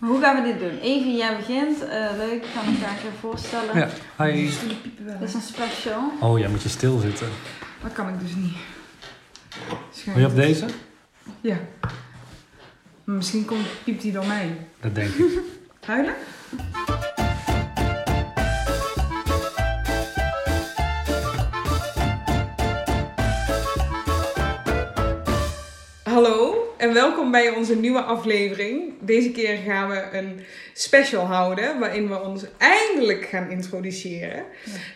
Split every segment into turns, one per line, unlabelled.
Hoe gaan we dit doen? Evie, jij begint. Eh, leuk, ik ga me graag even voorstellen.
Ja, hi.
Dus die piepen wel.
Dit is een special.
Oh, jij moet je stilzitten.
Dat kan ik dus niet. Schijn.
Wil je op deze?
Ja. Maar Misschien komt, piept die door mij.
Dat denk ik.
Huilen?
Hallo en welkom bij onze nieuwe aflevering. Deze keer gaan we een special houden waarin we ons eindelijk gaan introduceren.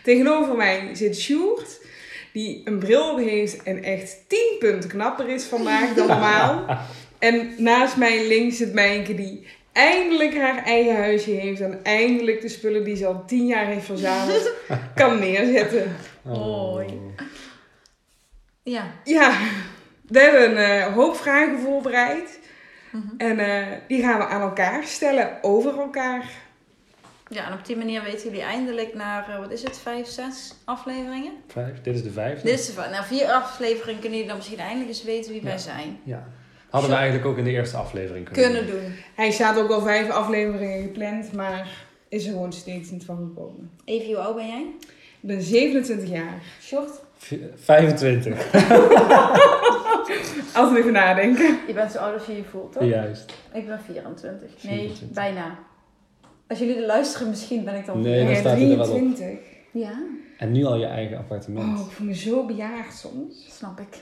Tegenover mij zit Sjoerd, die een bril op heeft en echt 10 punten knapper is vandaag dan normaal. en naast mij links zit Mijnke, die eindelijk haar eigen huisje heeft en eindelijk de spullen die ze al 10 jaar heeft verzameld kan neerzetten.
Oh.
Hoi. Ja,
Ja, we hebben een eh, hoop vragen voorbereid.
Mhm.
En eh, die gaan we aan elkaar stellen, over elkaar.
ja en op die manier weten jullie eindelijk naar, eh, wat is het, vijf, zes afleveringen?
Vijf. Dit is de vijfde.
Dit is de, nou, vier afleveringen kunnen jullie dan misschien eindelijk eens weten wie wij
Ja.
zijn.
Ja. Hadden we eigenlijk ook in de eerste aflevering kunnen,
Kunnen doen.
Hij staat ook al vijf afleveringen gepland, maar is er gewoon steeds niet van gekomen.
Evie, hoe oud ben jij?
Ik ben 27 jaar.
Short.
doen. V- 25.
Altijd even nadenken.
Je bent zo oud als je je voelt, toch?
Juist.
Ik ben 24. Nee,
24.
bijna. Als jullie er luisteren, misschien ben ik dan...
Nee, dan
Ja,
staat hij er wel op.
23.
Ja,
En nu al je eigen appartement.
Oh, ik voel me zo bejaard soms.
snap ik.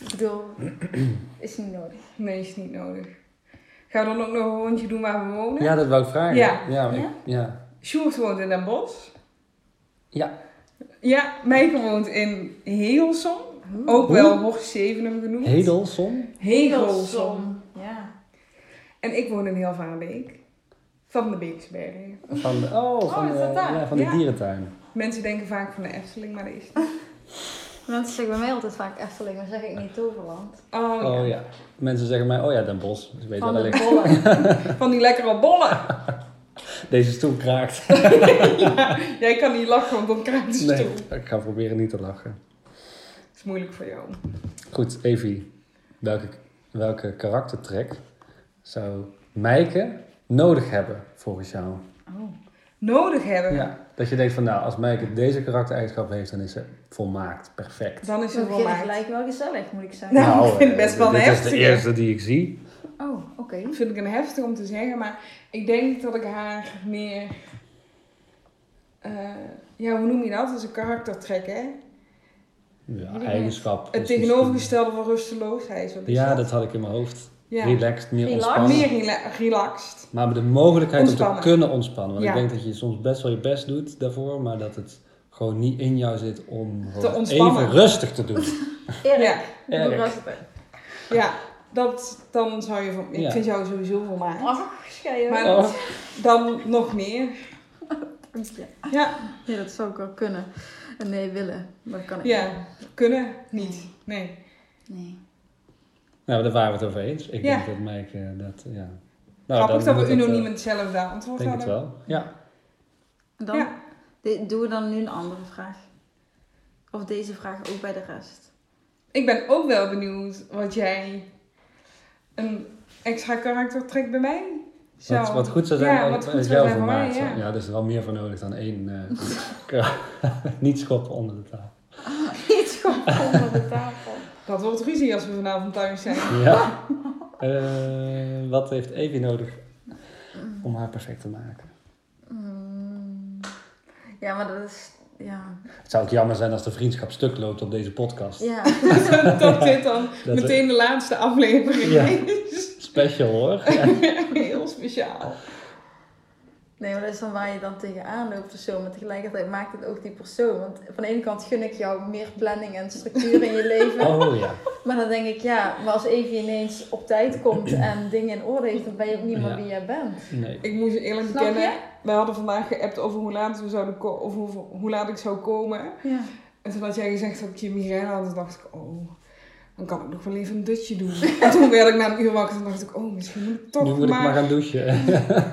Ik bedoel, is niet nodig.
Nee, is niet nodig. Gaan we dan ook nog een rondje doen waar we wonen?
Ja, dat wou ik vragen.
Ja.
Ja. maar
Ja?
ik- ja.
Sjoerd woont in Den Bosch.
Ja.
Ja, Mijke woont in Heelsom. Ook
Hoe?
wel Horst Zevenum genoemd.
Hedelson?
Hegelsom.
Ja.
En ik woon in Hilvarenbeek. Van de Beeksbergen.
Van de, oh, van
is
de,
dat daar?
ja, van de
Ja.
dierentuin.
Mensen denken vaak van de Efteling, maar dat is niet.
Mensen zeggen bij mij altijd vaak Efteling, maar zeg ik niet Toverland.
Oh, ja.
Oh ja. Mensen zeggen mij, oh ja, Den Bosch. Dus ik weet
Van
waar dat
de
ligt.
bollen.
Van die lekkere bollen.
Deze stoel kraakt.
Jij kan niet lachen, want dan krijg je de stoel.
Nee, ik ga proberen niet te lachen.
Dat is moeilijk voor jou.
Goed, Evie. Welke, welke karaktertrek zou Mijke nodig hebben volgens jou?
Oh,
Nodig hebben.
Ja. Dat je denkt van nou, als Mijke deze karaktereigenschap heeft, dan is ze volmaakt, perfect.
Dan is
Ze
het wel
beginnen
maakt.
gelijk wel gezellig, moet ik zeggen.
Nou, ik vind het
eh,
best wel
Dit is de
heftig, hè?
eerste die ik zie.
Oh, oké.
Dat vind ik een heftig om te zeggen, maar ik denk dat ik haar meer... eh, ja, hoe noem je dat? Dat is een karaktertrek, hè?
Ja, eigenschap.
Het
is misschien-
tegenovergestelde van rusteloosheid. Wat is
Ja,
dat?
dat had ik in mijn hoofd.
Ja.
Relaxed, meer
Relaxed.
ontspannen.
Meer rela- relaxed.
Maar de mogelijkheid om te
Ontspannen.
kunnen ontspannen. Want ik
Ja.
denk dat je soms best wel je best doet daarvoor, maar dat het gewoon niet in jou zit om gewoon
ontspannen.
even rustig te doen.
Erik,
Ja.
hoe
Erik.
was het?
Ja, dat, dan zou je van... Ik
Ja.
vind jou sowieso volmaakt.
Ach, schijnen.
Maar
Oh.
dan nog meer. Ja,
Nee, dat zou ik wel kunnen. En nee, willen. Maar dat kan ik niet.
ja. kunnen niet. Nee.
Nee.
Nou, daar waren we het over eens. Ik
Ja.
denk dat Mike eh, dat, ja.
Grappig
dan
dat we
moet
unaniem
eh,
hetzelfde daar
Ik
antwoord
denk het
hadden.
wel. Ja.
En dan
Ja.
de- doen we dan nu een andere vraag. Of deze vraag ook bij de rest.
Ik ben ook wel benieuwd wat jij een extra karaktertrek bij mij zou...
Wat, wat goed zou zijn eh,
ja,
als-
wat goed
als
zou
jou
zijn voor mij,
vermaakt.
ja.
Ja. ja, er is wel meer voor nodig dan één. eh, niet schoppen onder de tafel.
Iets gewoon onder de tafel.
Dat wordt ruzie als we vanavond thuis zijn.
Ja. Eh, wat heeft Evie nodig om haar perfect te maken?
Mm. Ja, maar dat is... Ja.
Het zou ook jammer zijn als de vriendschap stuk loopt op deze podcast.
Ja.
dat dit dan
Dat we-
meteen de laatste aflevering
Ja.
is.
Special hoor.
Heel speciaal.
Nee, maar dat is dan waar je dan tegenaan loopt of zo. Maar tegelijkertijd maakt het ook die persoon. Want van de ene kant gun ik jou meer planning en structuur in je leven.
Oh ja.
Maar dan denk ik, ja, maar als Evie ineens op tijd komt en dingen in orde heeft, dan ben je ook niet meer
Ja.
wie jij bent.
Nee.
Ik moet je eerlijk
Snap
bekennen,
je?
we hadden vandaag geappt over hoe laat, we zouden ko- of hoe, hoe laat ik zou komen.
Ja.
En toen had jij gezegd dat ik je migraine had, toen dacht ik, oh, dan kan ik nog wel even een dutje doen. En toen werd ik na een uur wakker en dacht ik, oh, misschien moet ik
nu
toch,
moet
maar,
ik maar gaan douchen.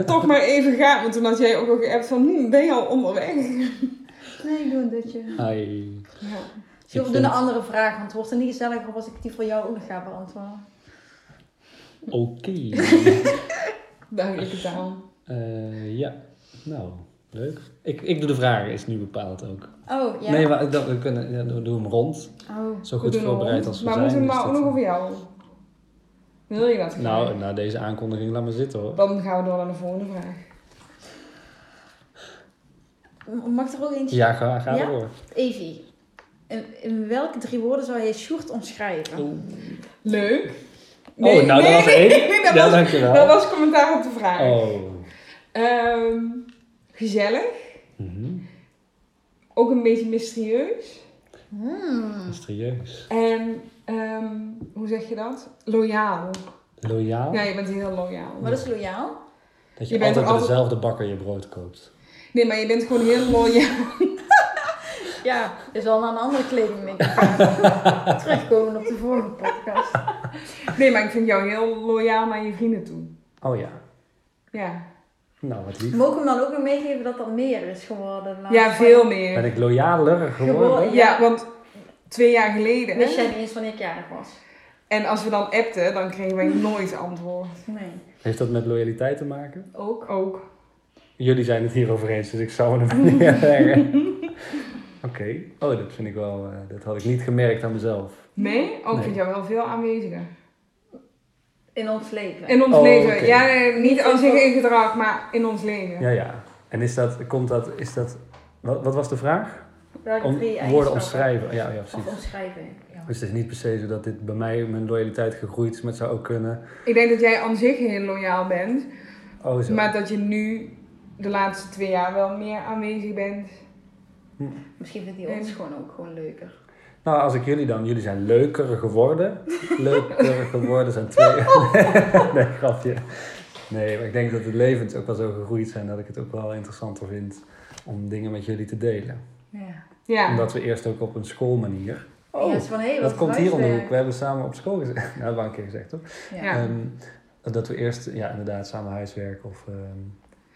toch maar even gaan. Want toen had jij ook al geappt van, hm, ben je al onderweg?
Nee, ik doe een dutje.
Hi.
Ja.
Zullen we
vind-
doen een andere vraag, want het wordt er niet gezelliger als ik die voor jou ook nog ga beantwoorden.
Oké.
Duidelijke taal.
Eh, ja, nou, leuk. Ik, ik doe de vragen, is nu bepaald ook.
Oh, ja.
Nee, maar ik dacht, we kunnen ja, we doen hem rond.
Oh.
Zo
We
goed
doen hem
voorbereid
rond.
als we
Maar
zijn.
moeten we
is
maar ook
dit-
nog over jou? Wil je dat?
Nou, na deze aankondiging, laat maar zitten hoor.
Dan gaan we door naar de volgende vraag.
Mag er ook eentje?
Ja, ga, ga
Ja?
door.
Evie, in, in welke drie woorden zou je Sjoerd omschrijven?
Leuk.
oh, nou, dat was
nee,
één.
nee, dat
ja,
was-
dankjewel.
Dat was commentaar op de vraag.
Oh.
Ehm, gezellig.
Mhm.
Ook een beetje mysterieus.
Hmm.
Mysterieus.
En ehm, hoe zeg je dat? Loyaal.
Loyaal.
Ja, je bent heel loyaal.
Wat is loyaal?
Dat je,
Je
altijd
bent
bij
er altijd-
dezelfde bakker je brood koopt.
Nee, maar je bent gewoon heel loyaal.
Ja, is al naar een andere kledingwinkel gaan. Terugkomen op de vorige podcast.
Nee, maar ik vind jou heel loyaal naar je vrienden toe.
Oh ja.
Ja,
Nou, wat lief.
Mogen we hem dan ook nog meegeven dat er meer is geworden? Nou,
ja
Ben
veel meer.
ik loyaler geworden?
Geworden.
Ja, want twee jaar geleden.
Wist jij niet eens wanneer ik jarig was?
En als we dan appten, dan kregen wij nooit antwoord.
Nee.
Heeft dat met loyaliteit te maken?
Ook? Ook.
Jullie zijn het hierover eens, dus ik zou het hem niet zeggen. Oké. Oh, dat vind ik wel... eh, dat had ik niet gemerkt aan mezelf.
Nee? Oh, ik
Nee.
vind jou wel veel aanweziger.
In ons leven.
In ons
Oh,
leven.
oké.
Ja, nee, niet
Niet
als
in-
ik in gedrag, maar in ons leven.
Ja, ja. En is dat... Komt dat... Is dat wat, wat was de vraag?
Welke
Om,
drie
woorden
eigenschappen?
omschrijven. Ja, ja,
Of
precies.
omschrijven. Ja.
Dus het is niet per se zo dat dit bij mij mijn loyaliteit gegroeid is, maar het zou ook kunnen.
Ik denk dat jij aan zich heel loyaal bent.
Oh, zo.
Maar dat je nu de laatste twee jaar wel meer aanwezig bent.
Misschien vindt hij ons gewoon ook gewoon leuker.
Nou, als ik jullie dan, jullie zijn leuker geworden. Leuker geworden zijn twee. nee, grapje. Nee, maar ik denk dat de levens ook wel zo gegroeid zijn dat ik het ook wel interessanter vind om dingen met jullie te delen.
Ja.
Ja.
Omdat we eerst ook op een schoolmanier. Oh,
ja, het is van, hey, wat
dat komt hier om de
huiswerk.
hoek. We hebben samen op school gezegd. Nou, wel een keer gezegd, toch?
Ja.
Ja.
Ehm, dat we eerst, ja, inderdaad, samen huiswerk of. ehm,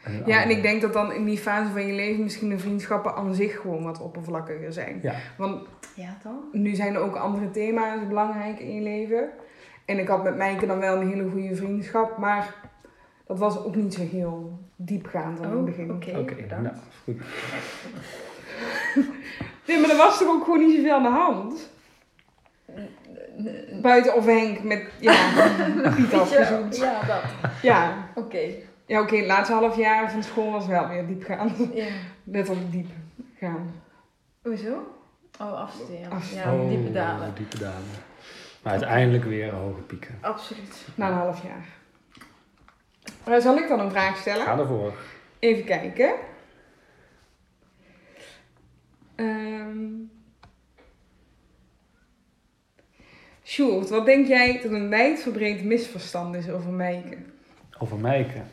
een
ja, en
andere-
ik denk dat dan in die fase van je leven misschien de vriendschappen aan zich gewoon wat oppervlakkiger zijn.
Ja.
Want
ja, toch?
nu zijn er ook andere thema's belangrijk in je leven. En ik had met Mijke dan wel een hele goede vriendschap, maar dat was ook niet zo heel diepgaand aan in het
Oh,
begin.
oké.
Oké,
bedankt.
nou, goed.
Nee, maar er was toch ook gewoon niet zoveel aan de hand? Buiten of Henk met, ja, Piet
Weet je-
afgezoend.
Ja, dat.
Ja,
Oké.
ja oké, het laatste half jaar van school was wel weer diepgaand.
Ja.
Net op diep gaan.
Hoezo? Oh, afstuderen.
Afstuderen.
Ja, diepe dalen.
Oh, Diepe dalen. Maar uiteindelijk weer hoge pieken.
Absoluut.
Na een half jaar. Maar zal ik dan een vraag stellen?
Ga ervoor.
Even kijken. Ehm Sjoerd, wat denk jij dat een wijdverbreid misverstand is over mijken?
Over Mijken.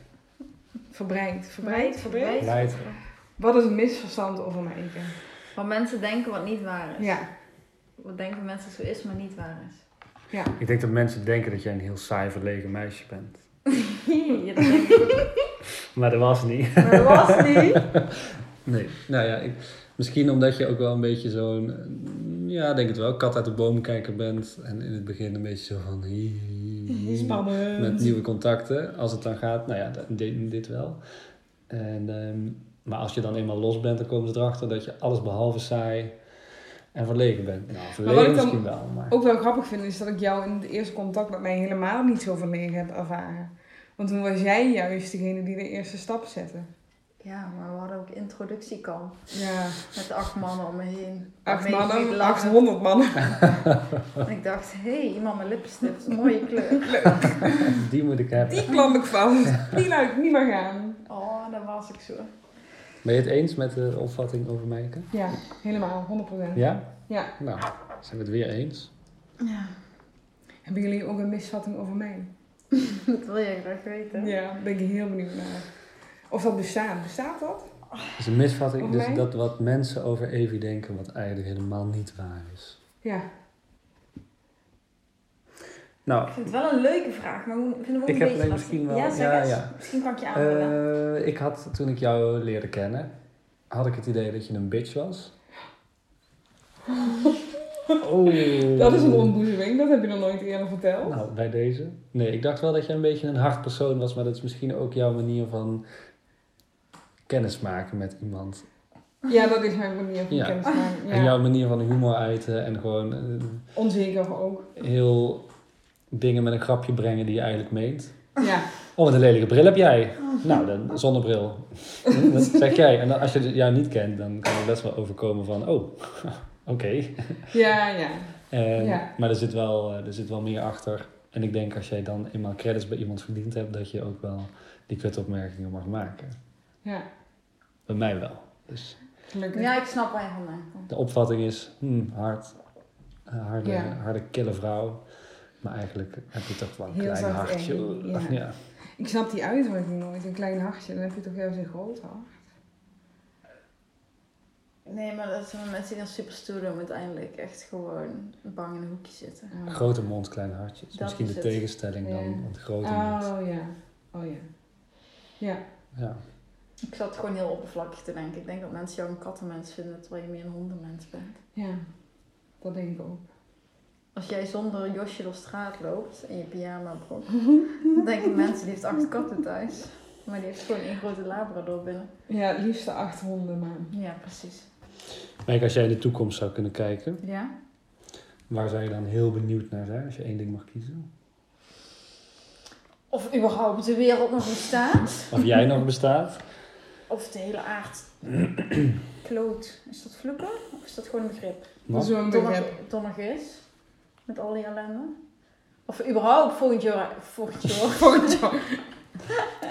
Verbreid, verbreid, verbreid.
Verbreid.
Leid.
Wat is een misverstand over mijken?
Wat mensen denken wat niet waar is.
Ja,
Wat denken mensen zo is, maar niet waar is.
ja.
Ik denk dat mensen denken dat jij een heel saai verlegen meisje bent.
Ja, dat denk ik.
Maar dat was niet.
Maar dat was niet.
Nee. Nou ja, ik, misschien omdat je ook wel een beetje zo'n, eh, ja, denk het wel, kat uit de boom kijken bent. En in het begin een beetje zo van... hi, hi, hi,
Spannend.
Hmm, Met nieuwe contacten, als het dan gaat. Nou ja, dat- dit, dit wel. En, ehm, maar als je dan eenmaal los bent, dan komen ze erachter dat je alles behalve saai en verlegen bent. Nou,
wat
verlegen
ik dan
misschien wel, maar...
Ook wel grappig vind is dat ik jou in het eerste contact met mij helemaal niet zo verlegen heb ervaren. Want toen was jij juist degene die de eerste stap zette.
Ja, maar we hadden ook introductiekamp.
Ja.
Met acht mannen om me heen.
Acht
Waarmee ik niet
mannen,
lachen.
800 mannen.
En ik dacht, hé, hey, iemand met lipstift. Mooie kleur.
Die moet ik hebben.
Die kwam ik van. Die laat ik niet meer gaan.
Oh, daar was ik zo.
Ben je het eens met de opvatting over Mijken?
Ja, helemaal, 100%.
Ja?
Ja.
Nou, zijn we het weer eens?
Ja,
Hebben jullie ook een misvatting over mij?
dat wil jij graag weten.
Ja, ben ik heel benieuwd naar. Of dat bestaat. Bestaat dat?
Dat is een misvatting,
Over
dus
mij?
dat wat mensen over Evie denken, wat eigenlijk helemaal niet waar is.
Ja.
Nou,
Ik vind het wel een leuke vraag, maar hoe- ik vind hem ook
Ik
een
heb
beetje
alleen
lastig.
misschien wel-
Ja, zeg
ja,
eens.
ja.
Misschien kan ik je aanvullen.
eh, ik had toen ik jou leerde kennen, had ik het idee dat je een bitch was. Oh.
Dat is een ontboezeming, dat heb je nog nooit eerder verteld.
Nou, bij deze. Nee, ik dacht wel dat je een beetje een hard persoon was, maar dat is misschien ook jouw manier van kennis maken met iemand.
Ja, dat is mijn manier van
Ja.
kennis maken. Ja.
En jouw manier van humor uiten en gewoon eh,
Onzeker ook.
heel dingen met een grapje brengen die je eigenlijk meent.
Ja.
Oh, wat een lelijke bril heb jij. Nou, dan zonnebril. Dat zeg jij. En dan, als je jou niet kent, dan kan het best wel overkomen van, oh, oké.
Ja, ja.
En-
Ja.
Maar er zit, wel, eh, er zit wel meer achter. En ik denk als jij dan eenmaal credits bij iemand verdiend hebt, dat je ook wel die kutopmerkingen mag maken.
Ja,
Bij mij wel. Dus
gelukkig.
Ja, ik snap waar je vandaan komt.
de opvatting is, hmm, hard, eh, harde,
Ja.
harde kille vrouw. Maar eigenlijk heb je toch wel een
Heel
klein
zacht
hartje.
en-
Ja.
ja. Ik snap die uitdrukking nooit. Een klein hartje, dan heb je toch juist een groot hart.
Nee, maar dat zijn mensen die dan super stoer doen, uiteindelijk echt gewoon bang in een hoekje zitten.
Oh.
Grote mond, klein hartje. Is
Dat
Misschien
is
de
het.
tegenstelling
Ja.
dan, want grote mond.
Oh ja. Oh ja. Ja.
Ja.
Ik zat gewoon heel oppervlakkig te denken. Ik denk dat mensen jou een kattenmens vinden terwijl je meer een hondenmens bent.
Ja. Dat denk ik ook.
Als jij zonder Josje door straat loopt in je pyjama broek, dan denken mensen die heeft acht katten thuis. Maar die heeft gewoon één grote labrador binnen.
Ja, het liefste acht honden, maar...
Ja, precies.
Mike, als jij in de toekomst zou kunnen kijken,
Ja?
waar zou je dan heel benieuwd naar zijn als je één ding mag kiezen?
Of überhaupt de wereld nog bestaat.
Of jij nog bestaat?
Of de hele aard. Kloot. Is dat vloeken? Of is dat gewoon een begrip?
Wat?
Zo'n begrip.
Donnig- Donnig is. Met al die ellende. Of überhaupt volgend jaar. Volgend jaar.
Goed zo.
Ah.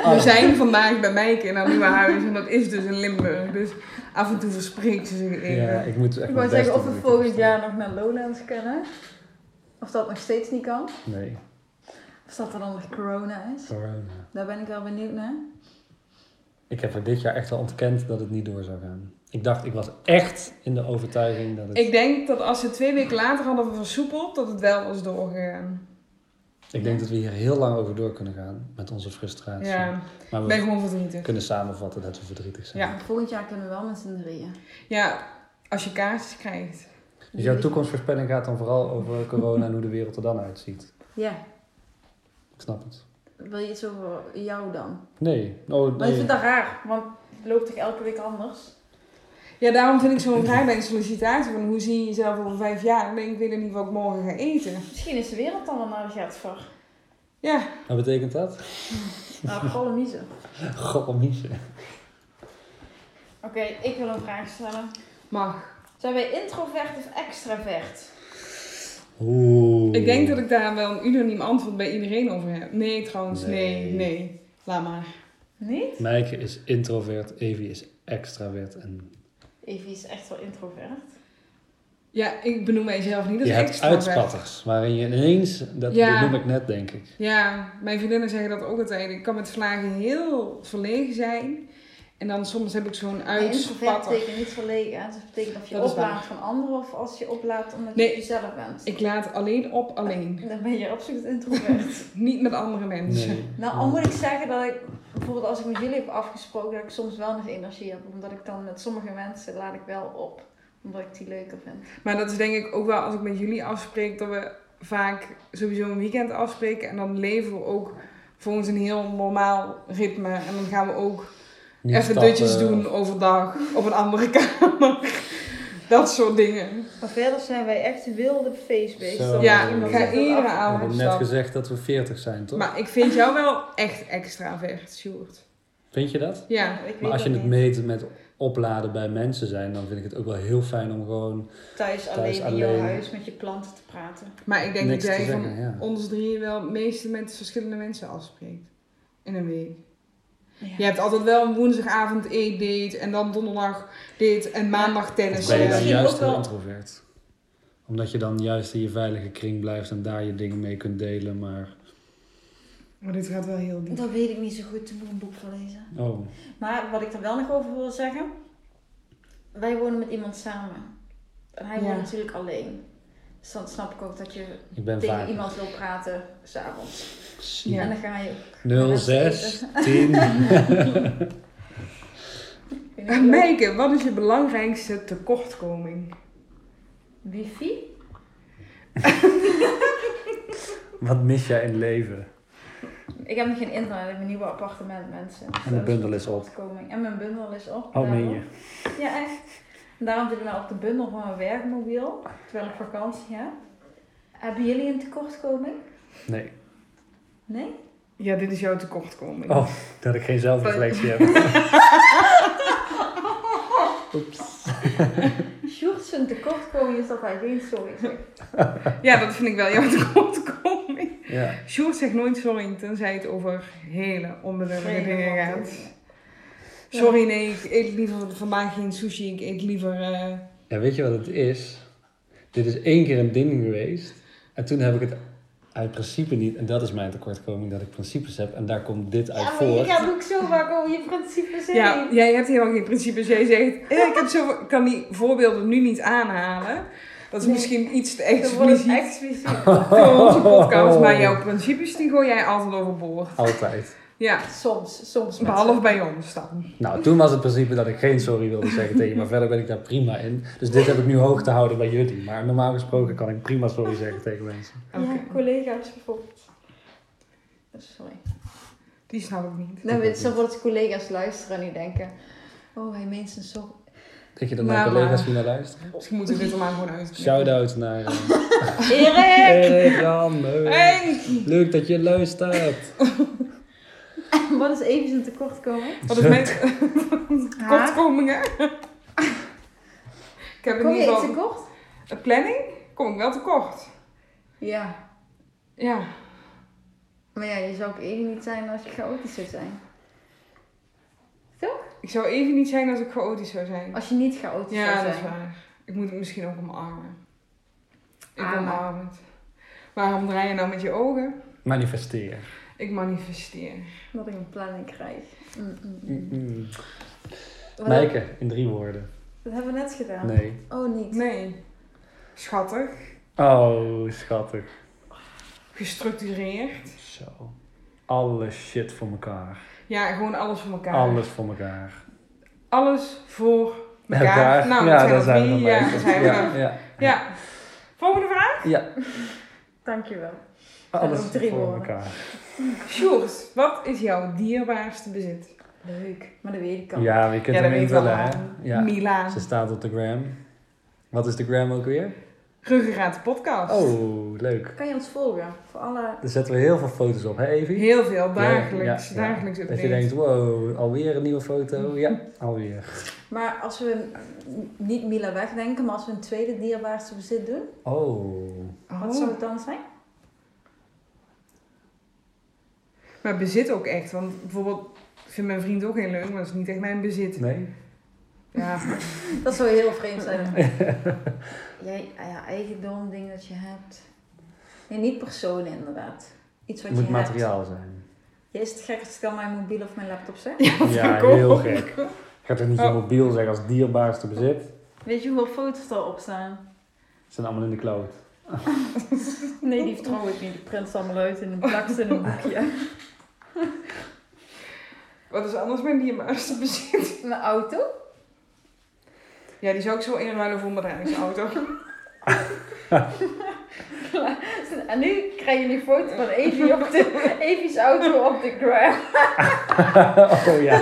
Oh.
We zijn vandaag bij Mijke in haar nieuwe huis en dat is dus in Limburg. Dus af en toe verspreekt ze zich even.
Ja, ik moet echt
Ik
mijn
wou
best
zeggen of
doen.
we volgend jaar nog naar Lowlands kunnen. Of dat nog steeds niet kan.
Nee,
Of dat er dan nog corona is.
corona.
Daar ben ik wel benieuwd naar.
Ik heb er dit jaar echt al ontkend dat het niet door zou gaan. Ik dacht, ik was echt in de overtuiging dat het... Ik,
Ik denk dat als ze twee weken later hadden versoepeld, dat het wel was doorgegaan.
denk dat we hier heel lang over door kunnen gaan met onze frustratie.
Ja,
Maar
ik
we
ben gewoon verdrietig.
kunnen samenvatten dat we verdrietig zijn.
Ja.
Volgend jaar kunnen we wel met z'n drieën.
Ja, als je kaartjes krijgt.
Dus jouw toekomstvoorspelling gaat dan vooral over corona en hoe de wereld er dan uitziet.
Ja.
Ik snap het.
Wil je iets over jou dan?
Nee. Oh,
Maar ik
nee.
vind dat raar, want het loopt toch elke week anders?
Ja, daarom vind ik zo'n vraag bij een sollicitatie van hoe zie je jezelf over vijf jaar? Ik denk, ik weet niet wat ik morgen ga eten.
Misschien is de wereld dan wel naar de gat voor.
Ja,
Wat betekent dat?
Nou, vooral miezen.
Godmietje.
Oké, ik wil een vraag stellen.
mag.
Zijn wij introvert of extravert?
Oeh.
Ik denk dat ik daar wel een unaniem antwoord bij iedereen over heb. Nee, trouwens, nee,
Nee.
nee. Laat maar.
Niet?
Mijke is introvert, Evie is extravert en
Evie is echt wel introvert.
Ja, ik benoem mijzelf niet als
je hebt
extra.
uitspatters, waarin je ineens, dat
Ja.
dat noem ik net denk ik.
Ja, mijn vriendinnen zeggen dat ook altijd. Ik kan met vragen heel verlegen zijn. En dan soms heb ik zo'n
Maar introvert
uitspatter.
betekent niet verlegen. hè? Dus het betekent dat je
Dat is
oplaadt van anderen of als je oplaadt omdat je
Nee.
jezelf bent.
Ik laat alleen op alleen.
Dan ben je absoluut introvert.
Niet met andere mensen.
nou, al moet ik zeggen dat ik bijvoorbeeld als ik met jullie heb afgesproken, dat ik soms wel nog energie heb. Omdat ik dan met sommige mensen laat ik wel op. Omdat ik die leuker vind.
Maar dat is denk ik ook wel als ik met jullie afspreek, dat we vaak sowieso een weekend afspreken. En dan leven we ook volgens een heel normaal ritme. En dan gaan we ook
Niet eh,
even
stappen.
dutjes doen overdag op een andere kamer. Dat soort dingen.
Maar verder zijn wij echt wilde feestbeesten.
Zo.
Ja,
iemand
ik
zegt
ga
dat
iedere
We hebben
avond
net
stappen.
gezegd dat we 40 zijn, toch?
Maar ik vind jou wel echt extravert, Sjoerd.
Vind je dat?
Ja.
Maar als je het meet met opladen bij mensen zijn, dan vind ik het ook wel heel fijn om gewoon
thuis
alleen
alleen
in
in
alleen.
je
jouw
huis
huis
met je klanten te praten.
Maar ik denk
niks
dat
te
jij van
zeggen. Ja.
ons drieën wel de meeste mensen, verschillende mensen afspreekt. In een week.
Ja.
Je hebt altijd wel een woensdagavond eet date en dan donderdag dit en maandag
Of
tennis.
ben je dan
misschien
juist
ook
heel
wel-
introvert? Omdat je dan juist in je veilige kring blijft en daar je dingen mee kunt delen, maar...
Maar dit gaat wel heel diep.
Dat weet ik niet zo goed, toen moet ik een boek gelezen.
Oh,
Maar wat ik er wel nog over wil zeggen. Wij wonen met iemand samen. En hij
Ja.
woont natuurlijk alleen. Dus dan snap ik ook dat je
ik ben
tegen
vaak...
iemand wil praten s'avonds. En
Ja.
dan ga je ook.
06, 10...
Ik weet niet
Eh,
of-
Meike, wat is je belangrijkste tekortkoming?
Wifi?
Wat mis jij in het leven?
Ik heb nog geen internet in mijn nieuwe appartement, mensen.
En de bundel is op.
Opkoming. En mijn bundel is op.
Oh, meen
daarom.
je?
Ja, echt. En daarom zit ik nou op de bundel van mijn werkmobiel, terwijl ik vakantie heb. Hebben jullie een tekortkoming?
Nee.
Nee?
Ja, dit is jouw tekortkoming.
Oh, dat ik geen zelfreflectie heb.
Sjoerd zijn tekortkoming is dat hij geen sorry zegt.
Ja, dat vind ik wel jouw tekortkoming.
Ja.
Sjoerd zegt nooit sorry, tenzij het over hele onbedurfde dingen gaat.
Ja.
Sorry, nee, ik eet liever vandaag geen sushi. Ik eet liever... eh,
Ja, weet je wat het is? Dit is één keer een ding geweest. En toen heb ik het uit principe niet. En dat is mijn tekortkoming, dat ik principes heb. En daar komt dit uit
Ja, maar je
voort.
gaat ook zo vaak over je principes heen.
Ja, jij hebt helemaal geen principes. Jij zegt, eh, ik heb zo, ik kan die voorbeelden nu niet aanhalen. Dat is
Nee.
misschien iets te
Dan wordt het
expliciet
expliciet.
voor onze podcast. Maar jouw principes, die gooi jij altijd overboord.
Altijd.
Ja,
Soms, soms. met
behalve bij ons dan.
Nou, toen was het principe dat ik geen sorry wilde zeggen tegen je. Maar verder ben ik daar prima in. Dus dit heb ik nu hoog te houden bij jullie. Maar normaal gesproken kan ik prima sorry zeggen tegen mensen.
Oké.
Ja, collega's bijvoorbeeld. Sorry.
Die snap ik niet.
Dan weet zo Nou, wordt collega's luisteren en die denken... Oh, hij meent zijn sorry.
Denk je dat
Maar,
mijn collega's
Nou, maar-
hier naar luisteren?
Misschien moeten we dit er maar gewoon uit.
Shout-out naar eh,
Erik!
Erik, Jan, leuk.
Henk!
Leuk dat je luistert.
Wat is even zijn tekortkoming?
Wat is mijn tekortkomingen? Ik heb in
Kom je
ieder
iets
geval...
tekort?
Een planning? Kom ik wel tekort.
Ja.
Ja.
Maar ja, je zou ook even niet zijn als je chaotisch zou zijn. Toch?
Ik zou even niet zijn als ik chaotisch zou zijn.
Als je niet chaotisch zou
Ja,
zijn.
dat is waar. Ik moet het misschien ook omarmen. Ik
Amen.
omarm het. Waarom draai je nou met je ogen?
Manifesteren.
Ik manifesteer.
Dat ik een planning krijg. Mm, mm, mm.
Mm-mm.
Wat heb-
Mijke, in drie woorden.
Dat hebben we net gedaan.
Nee.
Oh, niet.
Nee. Schattig.
Oh, schattig.
Gestructureerd.
Zo. Alle shit voor elkaar.
Ja, gewoon alles voor elkaar.
Alles voor elkaar.
Alles voor elkaar. Nou,
ja,
dat
daar zijn we
drie.
dan
Ja,
bij.
daar zijn we
ja,
dan.
ja.
Ja. Volgende vraag.
ja,
Dankjewel.
alles
ook drie
voor
woorden.
elkaar.
Sjoerd, wat is jouw dierbaarste bezit?
Leuk. Maar dat weet ik al.
Ja, je kunt
Ja,
hem
dat weten we
invullen, hè.
al.
Ja.
Mila.
Ze staat op de gram. Wat is de gram ook weer?
Ruggengraat de podcast.
Oh, leuk.
Kan je ons volgen? Voor alle...
Daar zetten we heel veel foto's op, hè Evie?
Heel veel, dagelijks.
Ja, ja, ja.
Dagelijks
Dat
update.
je denkt, wow, alweer een nieuwe foto. Ja, alweer.
Maar als we mm, niet Mila wegdenken, maar als we een tweede dierbaarste bezit doen,
Oh.
wat
Oh.
zou het dan zijn?
Maar bezit ook echt. Want bijvoorbeeld, ik vind mijn vriend ook heel leuk, maar dat is niet echt mijn bezit.
Nee?
Ja,
Dat zou heel vreemd zijn. Jij, ja, eigendom, ding dat je hebt. Nee, niet personen inderdaad. Iets wat
Het moet
je hebt.
materiaal zijn.
Jij is het gek als ik dan mijn mobiel of mijn laptop zeg.
Ja,
ik ook.
heel gek. Ik ga toch niet je
Oh.
mobiel zeggen als dierbaarste bezit?
Weet je hoeveel foto's erop staan?
Ze zijn allemaal in de cloud.
Nee, die vertrouw ik niet. Die print ze allemaal uit in een plakt in een boekje.
wat is anders mijn dierbaarste bezit?
Mijn auto?
Ja, die zou ik zo inruilen voor mijn bedrijfsauto.
En nu krijgen jullie een foto van Evie op de, Evie's auto op de gram.
oh ja.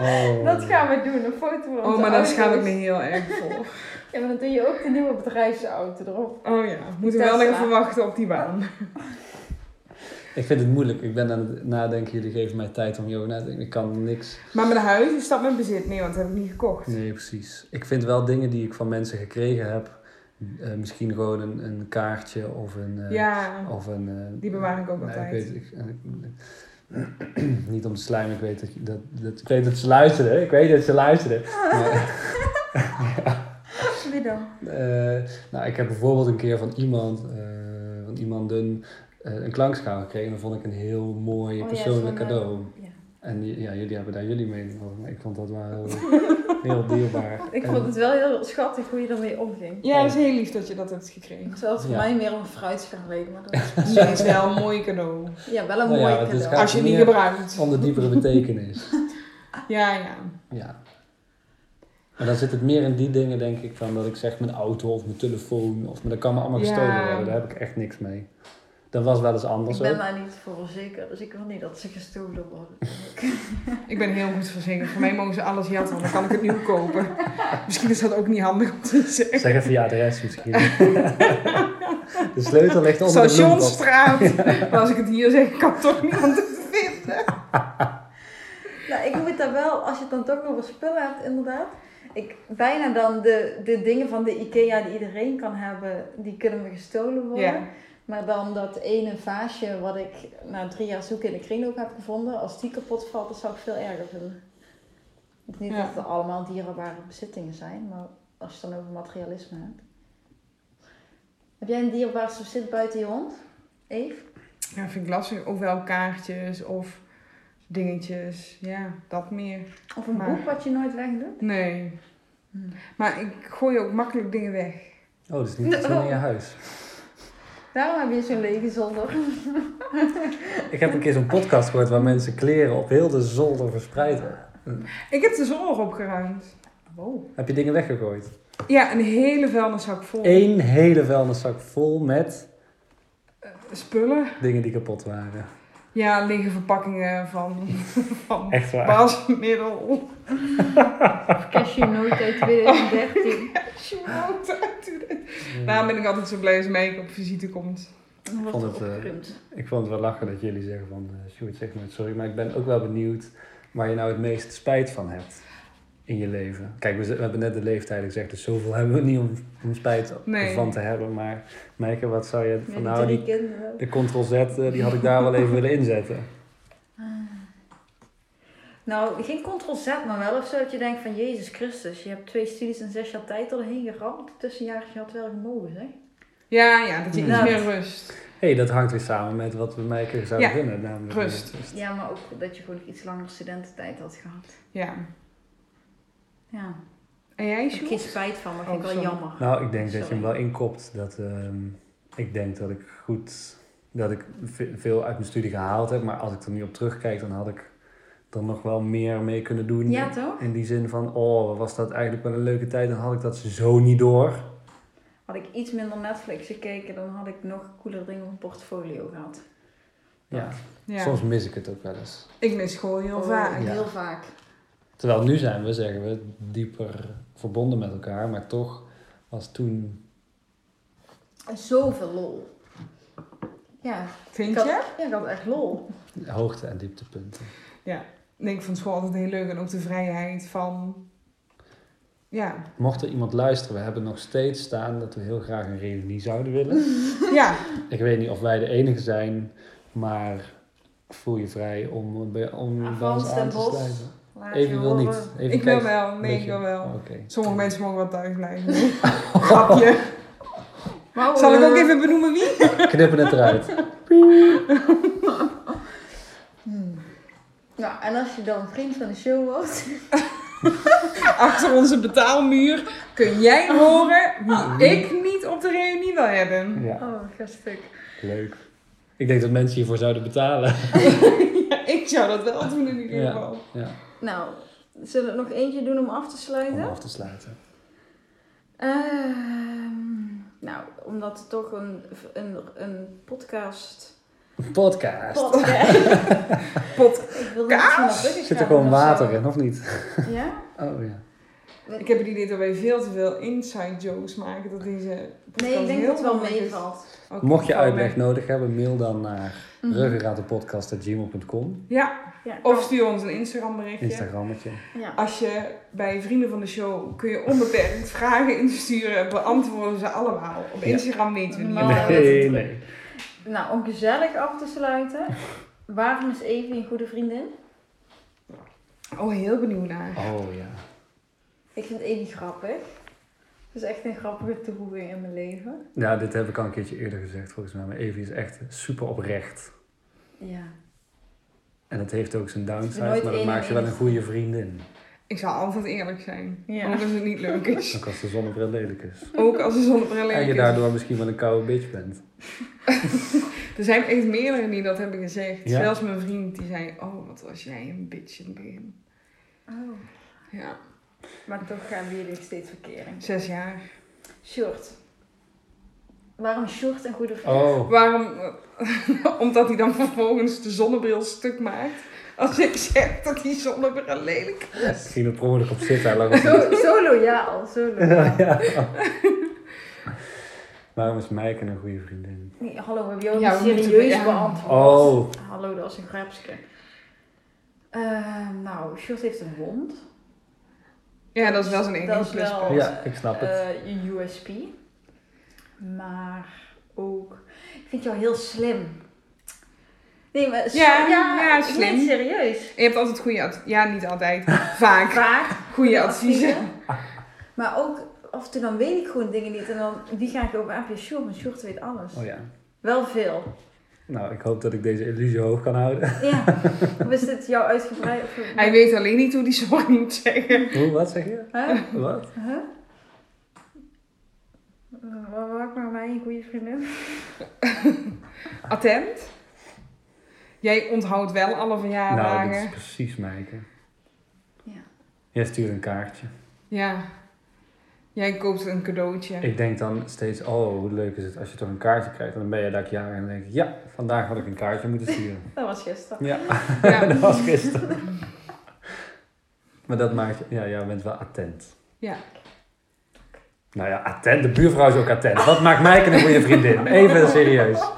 Oh.
Dat gaan we doen, een foto van onze
Oh, maar daar schaam ik me
auto's.
heel erg voor.
Ja, maar dan doe je ook de nieuwe bedrijfsauto erop.
Oh ja, moeten we wel
Tesla.
even verwachten op die baan.
Ik vind het moeilijk. Ik ben aan het nadenken. Jullie geven mij tijd om hierover na te denken. Ik kan niks.
Maar mijn huis, is dat mijn bezit? Nee, want dat heb ik niet gekocht.
Nee, precies. Ik vind wel dingen die ik van mensen gekregen heb. eh, misschien gewoon een, een kaartje of een... eh,
Ja,
Of een eh,
Die bewaar ik ook
nou,
altijd.
Ik weet, ik, ik- niet om te slijmen. Ik weet dat, je- dat, dat, ik weet dat ze luisteren. Ik weet dat ze luisteren. Maar-
Wie dan?
Eh, nou, ik heb bijvoorbeeld een keer van iemand, eh van iemanden, eh, een klankschaal gekregen. En dat vond ik een heel
Oh
Oh,
mooi persoonlijk
eh,
cadeau. En j- ja, jullie hebben daar jullie mee. maar Ik vond dat wel heel, heel dierbaar.
Ik
En-
vond het wel heel schattig hoe je ermee omging.
Ja, dat is heel lief dat je dat hebt gekregen.
Terwijl het voor
Ja.
mij meer om fruitschaal leek, maar dat is
Dus dat is wel een mooi cadeau.
ja, wel een
Nou ja,
mooi
het is
cadeau.
gaaf.
Als je het niet gebruikt.
Om de diepere betekenis.
Ja, ja.
Ja. Maar dan zit het meer in die dingen, denk ik, van dat ik zeg mijn auto of mijn telefoon. Of, maar dat kan me allemaal gestolen
Ja.
worden. Daar heb ik echt niks mee. Dat was wel eens
Ik
anders
ben
ook.
daar niet voor zeker, dus ik wil niet dat ze gestolen worden.
Ik ben heel goed verzekerd. Voor mij mogen ze alles jatten, dan kan ik het nieuw kopen. Misschien is dat ook niet handig om te zeggen.
Zeg even je adres misschien. de sleutel ligt onder de bloempot.
Stationsstraat. Maar als ik het hier zeg, kan toch niemand het vinden.
Nou, ik moet daar wel, als je het dan toch over spullen hebt, inderdaad. Ik, bijna dan de, de dingen van de IKEA die iedereen kan hebben, die kunnen me gestolen worden.
Ja.
Maar dan dat ene vaasje wat ik na drie jaar zoeken in de kringloop heb gevonden, als die kapot valt, dat zou ik veel erger vinden. Het is Niet
Ja.
dat het allemaal dierbare bezittingen zijn, maar als je het dan over materialisme hebt. Heb jij een dierbaarste bezit buiten je hond? Eve?
Ja, vind ik lastig. Ofwel kaartjes of dingetjes. Ja, dat meer.
Of een
Maar-
boek wat je nooit wegdoet?
Nee. Maar ik gooi ook makkelijk dingen weg.
Oh, dat is niet zo in je huis.
Daarom heb je zo'n lege zolder.
Ik heb een keer zo'n podcast gehoord waar mensen kleren op heel de zolder verspreiden.
Ik heb de zolder opgeruimd.
Wow.
Heb je dingen weggegooid?
Ja, een hele vuilniszak vol
Eén hele vuilniszak vol met
spullen.
dingen die kapot waren.
Ja, liggen verpakkingen van, van
Echt waar.
wasmiddel.
Cashewnoot uit 2013.
Schmout uit. Daarom ben ik altijd zo blij als Mike op visite komt.
Dan
vond
wordt het
het, eh,
opgeruimd.
Ik vond het wel lachen dat jullie zeggen van, eh Sjoerd, zeg maar sorry, maar ik ben ook wel benieuwd waar je nou het meest spijt van hebt in je leven. Kijk, we, z- we hebben net de leeftijd gezegd, dus zoveel hebben we niet om, om spijt
Nee.
van te hebben. Maar Meike, wat zou je
Met
van
die
nou,
drie
die,
kinderen.
de Ctrl-Z, eh, die had ik daar wel even willen inzetten.
Nou, geen ctrl-z, maar wel of zo dat je denkt van Jezus Christus, je hebt twee studies in zes jaar tijd erheen geramd. Tussenjaartje had wel gemogen, zeg.
Ja, ja,
Mm.
dat je iets
Ja.
meer rust.
Hé, hey, dat hangt weer samen met wat we Meike zouden
Ja,
gunnen. Namelijk eh,
rust.
meer
Ja, maar ook dat je gewoon iets langer studententijd had gehad.
Ja.
Ja,
En jij,
ik heb geen
Sjoerd?
spijt van, maar
Oh,
vind ik wel
sorry.
jammer.
Nou, ik denk dat je
Sorry.
hem wel inkopt. Dat, ehm, ik denk dat ik goed, dat ik ve- veel uit mijn studie gehaald heb. Maar als ik er nu op terugkijk, dan had ik er nog wel meer mee kunnen doen.
Ja, toch?
In die zin van, oh, was dat eigenlijk wel een leuke tijd. Dan had ik dat zo niet door.
Had ik iets minder Netflix gekeken, dan had ik nog cooler dingen op mijn portfolio gehad.
Ja.
Ja.
Soms mis ik het ook wel eens.
Ik mis gewoon heel
Oh,
vaak.
Ja.
Heel vaak.
Terwijl nu zijn we, zeggen we, dieper verbonden met elkaar. Maar toch was toen...
Zoveel lol. Ja, ik
Vind
had,
je?
ja, ik had echt lol.
Hoogte en dieptepunten.
Nee, ik vond school altijd heel leuk. En ook de vrijheid van... Ja.
Mocht er iemand luisteren, we hebben nog steeds staan dat we heel graag een reunie zouden willen.
Ja.
Ik weet niet of wij de enige zijn, maar voel je vrij om, bij- om bij ons
Avans
aan
en
te
Bos.
sluiten.
Laat je
Even wil
horen.
niet. Even
Ik wil
kijken.
wel. Nee, ik
Beetje.
wil wel.
Oké.
Sommige mensen mogen wel thuis blijven. Grapje.
Maar,
Zal ik
eh,
ook even benoemen wie?
Knippen het eruit.
Hmm. Nou, en als je dan vriend van de show wordt,
Achter onze betaalmuur kun jij
Oh.
horen wie ik niet op de reunie wil hebben.
Ja,
oh, ga stuk.
leuk. Ik denk dat mensen hiervoor zouden betalen.
Ja, ik zou dat wel doen in ieder
Ja.
geval.
Ja,
Nou, zullen we er nog eentje doen om af te
om
sluiten?
af te sluiten.
Ehm, nou, omdat het toch een, een, een podcast...
Podcast.
podcast.
Pot.
Ik wil niet van dat
Zit er gewoon water in, of niet?
Ja?
Oh ja.
Ik heb het idee dat wij veel te veel inside jokes maken. Dat deze
Nee, ik
podcast
denk
heel
dat het wel
makkelijk is.
meevalt.
Oké,
Mocht je
val weg.
uitleg nodig hebben, mail dan naar
Mhm.
ruggengratenpodcast.gmail.com.
Ja,
Ja, kan.
of stuur ons een Instagram berichtje.
Instagrammetje.
Ja.
Als je bij vrienden van de show kun je onbeperkt vragen insturen, beantwoorden ze allemaal. Op
Ja.
Instagram weten we niet.
Oh, dat is
nee,
druk.
nee.
Nou, om gezellig af te sluiten. Waarom is Evie een goede vriendin?
Oh, heel benieuwd naar.
Oh ja.
Ik vind Evie grappig. Ze is echt een grappige toevoeging in mijn leven.
Ja, dit heb ik al een keertje eerder gezegd volgens mij. Maar Evie is echt super oprecht.
Ja.
En het heeft ook zijn
Ik ben
downside,
nooit
maar dat
één
maakt je wel een
eens.
goede vriendin.
Ik zal altijd eerlijk zijn.
Ja.
Ook als het niet leuk is.
Ook als de zonnebril lelijk is.
Ook als de zonnebril
En je
lelijk is.
daardoor misschien wel een koude bitch bent.
Er zijn echt meerdere die dat hebben gezegd.
Ja.
Zelfs mijn vriend die zei, oh wat was jij een bitch in het begin.
Oh.
Ja.
Maar toch gaan we jullie steeds verkering.
Zes jaar.
Short. Waarom short een goede vriend?
Oh,
Waarom? Omdat hij dan vervolgens de zonnebril stuk maakt. Als ik zeg dat die zonnebril lelijk
ik ging er per ongeluk op zitten. Hij lag op de-
Zo, zo loyaal, zo loyaal.
Waarom is Mijken een goede vriendin?
Nee, Hallo, we hebben jou
Ja,
niet
we moeten-
serieus
ja.
beantwoord.
Oh.
Hallo, dat is een grapsje. Eh, nou, Short heeft een hond.
Ja, dat is wel zijn enige
Dat is wel-
pluspunt.
Ja, ik snap het.
eh, een USP. Maar ook... Ik vind jou heel slim. Nee, maar... s-
Ja, ja,
ik
slim.
meen serieus.
En je hebt altijd goede adviezen. Ja, niet altijd. Vaak.
Vaak.
Goede adviezen.
Maar ook... Af en toe dan weet ik gewoon dingen niet. En dan, die ga ik over aan via Sjoerd. Want Sjoerd weet alles.
Oh ja.
Wel veel.
Nou, ik hoop dat ik deze illusie hoog kan houden.
Ja. Hoe is dit jou uitgebreid? Of-
Hij weet alleen niet hoe die zorg moet zeggen.
Hoe, wat zeg je?
Huh?
Wat?
Huh? Eh, Wat maakt maar mij een goede vriendin?
Attent. Jij onthoudt wel alle
nou,
verjaardagen.
dit is precies Mijken.
Ja.
Jij stuurt een kaartje.
Ja. Jij koopt een cadeautje.
Ik denk dan steeds, oh, hoe leuk is het als je toch een kaartje krijgt. En dan ben je daar jaren en dan denk ik, ja, vandaag had ik een kaartje moeten sturen.
Dat was gisteren.
ja,
Ja.
dat was gisteren. maar dat maakt, je- ja, jij bent wel attent.
Ja.
Nou ja, attent, de buurvrouw is ook attent. Wat maakt mij een goede vriendin? Even serieus.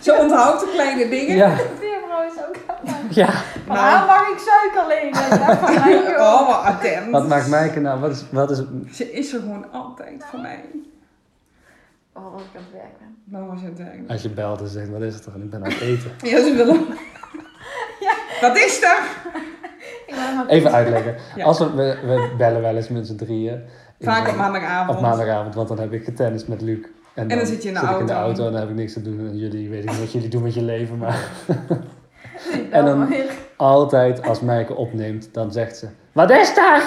Ze onthoudt de kleine dingen.
Ja,
De buurvrouw is ook aan mij.
ja.
Van
Nou.
haar mag ik suiker lenen. Ja, van mij ook.
Oh, wat attent.
Wat maakt mij nou, wat is, wat is,
Ze is er gewoon altijd voor mij.
Oh, als ik aan het werk ben.
Dat was het eigenlijk.
als je belt en zegt, wat is het toch? En ik ben aan het eten.
Ja, ze willen. Wat is er?
Ik ben maar
Even uitleggen.
Ja.
Als we, we, we bellen wel eens met z'n drieën.
Vaak op
Op
maandagavond.
maandagavond, want dan heb ik getennist met Luc. En
dan zit je in de
ik in de
auto.
auto en dan heb ik niks te doen. En jullie, weet ik niet wat jullie doen met je leven. Maar
niet
En dan-
wel, maar-
altijd als Mijke opneemt, dan zegt ze... Wat is daar?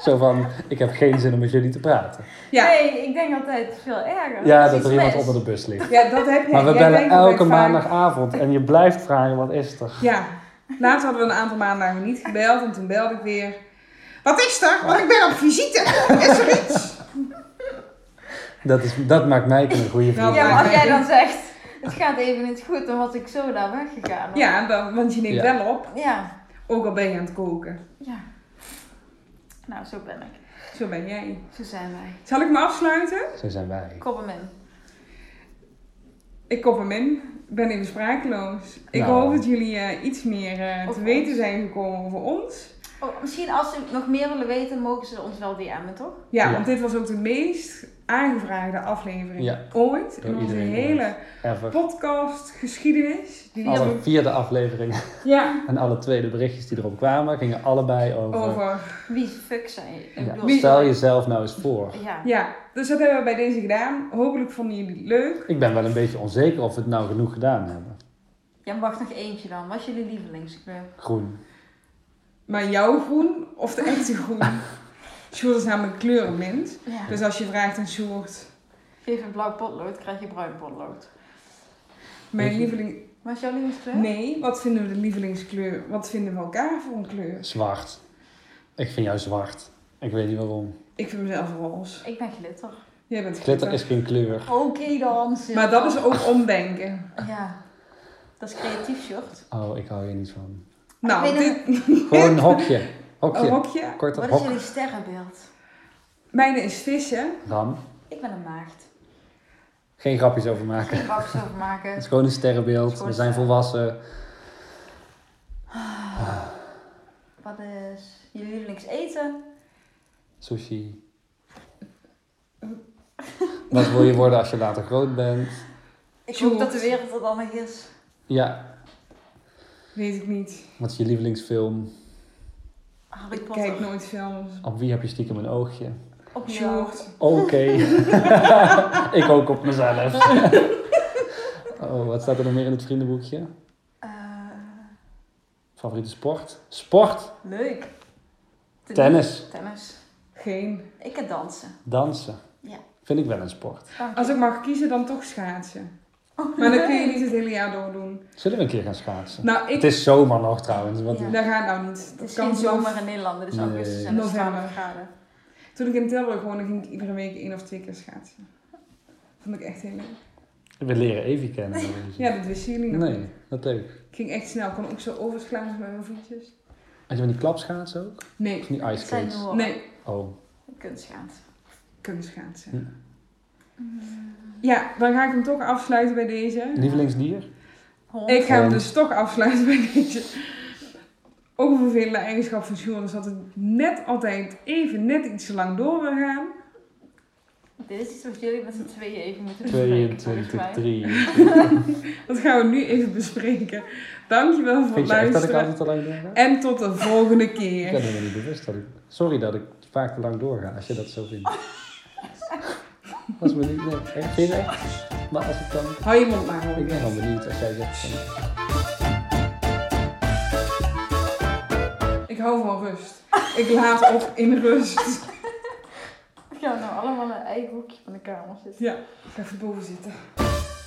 Zo van, ik heb geen zin om met jullie te praten.
Ja.
Nee, ik denk altijd veel erger.
Ja,
is
dat er
iets
iemand
mis.
onder de bus ligt.
Ja, dat heb je.
Maar we
Jij
bellen
denkt dat
elke
ik vaak-
maandagavond en je blijft vragen, wat is er?
Ja. Laatst hadden we een aantal maandagen niet gebeld en toen belde ik weer. Wat is er? Want ik ben op visite. Is er iets?
Dat, is, dat maakt Mijke een goede vriend.
Ja, maar als jij dan zegt, het gaat even niet goed, dan was ik zo daar weggegaan.
Ja, dan, want je neemt
Ja.
wel op.
Ja.
Ook al ben je aan het koken.
Ja. Nou, zo ben ik.
Zo ben jij.
Zo zijn wij.
Zal ik me afsluiten?
Zo zijn wij.
Kop hem in.
Ik kop hem in. Ik ben even sprakeloos. Ik
Nou.
hoop dat jullie eh, iets meer eh, te
Over
weten
ons.
zijn gekomen over ons.
Oh, misschien als ze nog meer willen weten, mogen ze ons wel DM'en, toch?
Ja,
Ja.
want dit was ook de meest aangevraagde aflevering
Ja.
ooit in
Door
onze
iedereen
hele
Ever.
podcast geschiedenis. Die
Alle
hebben-
vierde aflevering
ja,
en alle tweede berichtjes die erop kwamen, gingen allebei
over.
Wie fuck zijn je? Ik
Ja,
bedoel-
Stel jezelf nou eens voor.
Ja.
Ja, dus dat hebben we bij deze gedaan. Hopelijk vonden jullie het leuk.
Ik ben wel een beetje onzeker of we het nou genoeg gedaan hebben.
Jij mag nog eentje dan. Wat is jullie lievelingskleur?
Groen.
Maar jouw groen of de echte groen? Sjoerd is namelijk kleurenblind.
Ja.
Dus als je vraagt aan Sjoerd,
Geef een blauw potlood, krijg je bruin potlood.
mijn
Weet je-
lieveling...
Wat is jouw lievelingskleur?
Nee, wat vinden we de lievelingskleur? Wat vinden we elkaar voor een kleur?
Zwart. Ik vind jou zwart. Ik weet niet waarom.
Ik vind mezelf roze.
Ik ben glitter.
Jij bent
Glitter is geen kleur.
Oké dan. zilver.
Maar dat is ook omdenken.
Ja. Dat is creatief, short.
Oh, ik hou hier niet van.
Nou,
Ik weet
dit,
Gewoon een hokje.
een
Hokje.
hokje.
Korte
Oh, Wat is
hok.
jullie sterrenbeeld?
Mijne is vissen.
Ram.
Ik ben een maagd.
Geen grapjes over maken.
Geen grapjes over
Het
maken.
is gewoon een sterrenbeeld. We zijn volwassen.
Wat is jullie lievelingseten?
Sushi. Wat wil je worden als je later groot bent?
Ik
Sjoerd.
hoop dat de wereld er dan nog is.
Ja.
Weet ik niet.
Wat is je lievelingsfilm?
Harry
Ik
Potter.
kijk nooit films.
Op wie heb je stiekem een oogje?
Op jou.
Sjoerd.
Oké. ik ook op mezelf. oh, wat staat er nog meer in het vriendenboekje?
Eh,
Favoriete sport? Sport,
leuk.
tennis,
Tennis.
Geen.
Ik kan dansen.
dansen.
Ja.
Vind ik wel een sport.
Dank
Als
je.
ik mag kiezen, dan toch schaatsen. Oh, Maar dan kun je niet het hele jaar door doen.
Zullen we een keer gaan schaatsen?
Nou,
Het
ik...
is zomer nog trouwens. Want
Ja.
Daar gaat nou niet.
Het
Dat
is geen
kan
zomer in Nederland, dus dit is
Nee.
augustus en het is
November.
12 graden.
Toen ik in Tilburg woonde, ging ik iedere week één of twee keer schaatsen. Vond ik echt heel leuk.
We leren Evi kennen.
Ja, dat wisten jullie nog niet.
Nee, dat leuk.
Ik ging echt snel. Ik kon ook zo overslaan met mijn voetjes.
Had je van die klapschaatsen ook?
Nee.
Of die ice
Het zijn
skates?
nu nee.
Nee.
Oh,
kunstschaats.
kunstschaatsen. Ja, dan ga ik hem toch afsluiten bij deze.
lievelingsdier?
Hond.
Ik ga hem
Hond.
dus toch afsluiten bij deze. Ook een vervelende eigenschap van Sjoerd is dat het net altijd even net iets te lang door wil gaan.
Dit is iets wat jullie met z'n tweeën even moeten bespreken.
22,
volgens
3.
Dat gaan we nu even bespreken. Dankjewel voor het
Vind je echt dat ik
luisteren.
altijd te lang doorga?
En tot de volgende
Ik
keer.
ben me niet bewust dat ik... Sorry dat ik vaak te lang doorga, als je dat zo vindt. Was me niet... Nee, echt geen echt. Maar als ik dan...
Hou je mond maar
Ik
hoor.
ben dan benieuwd als jij zegt van...
Ik hou van rust. Ik laat op in rust.
mij. We gaan nou allemaal in een eigen hoekje van de kamer zitten.
Ja, ik ga even boven zitten.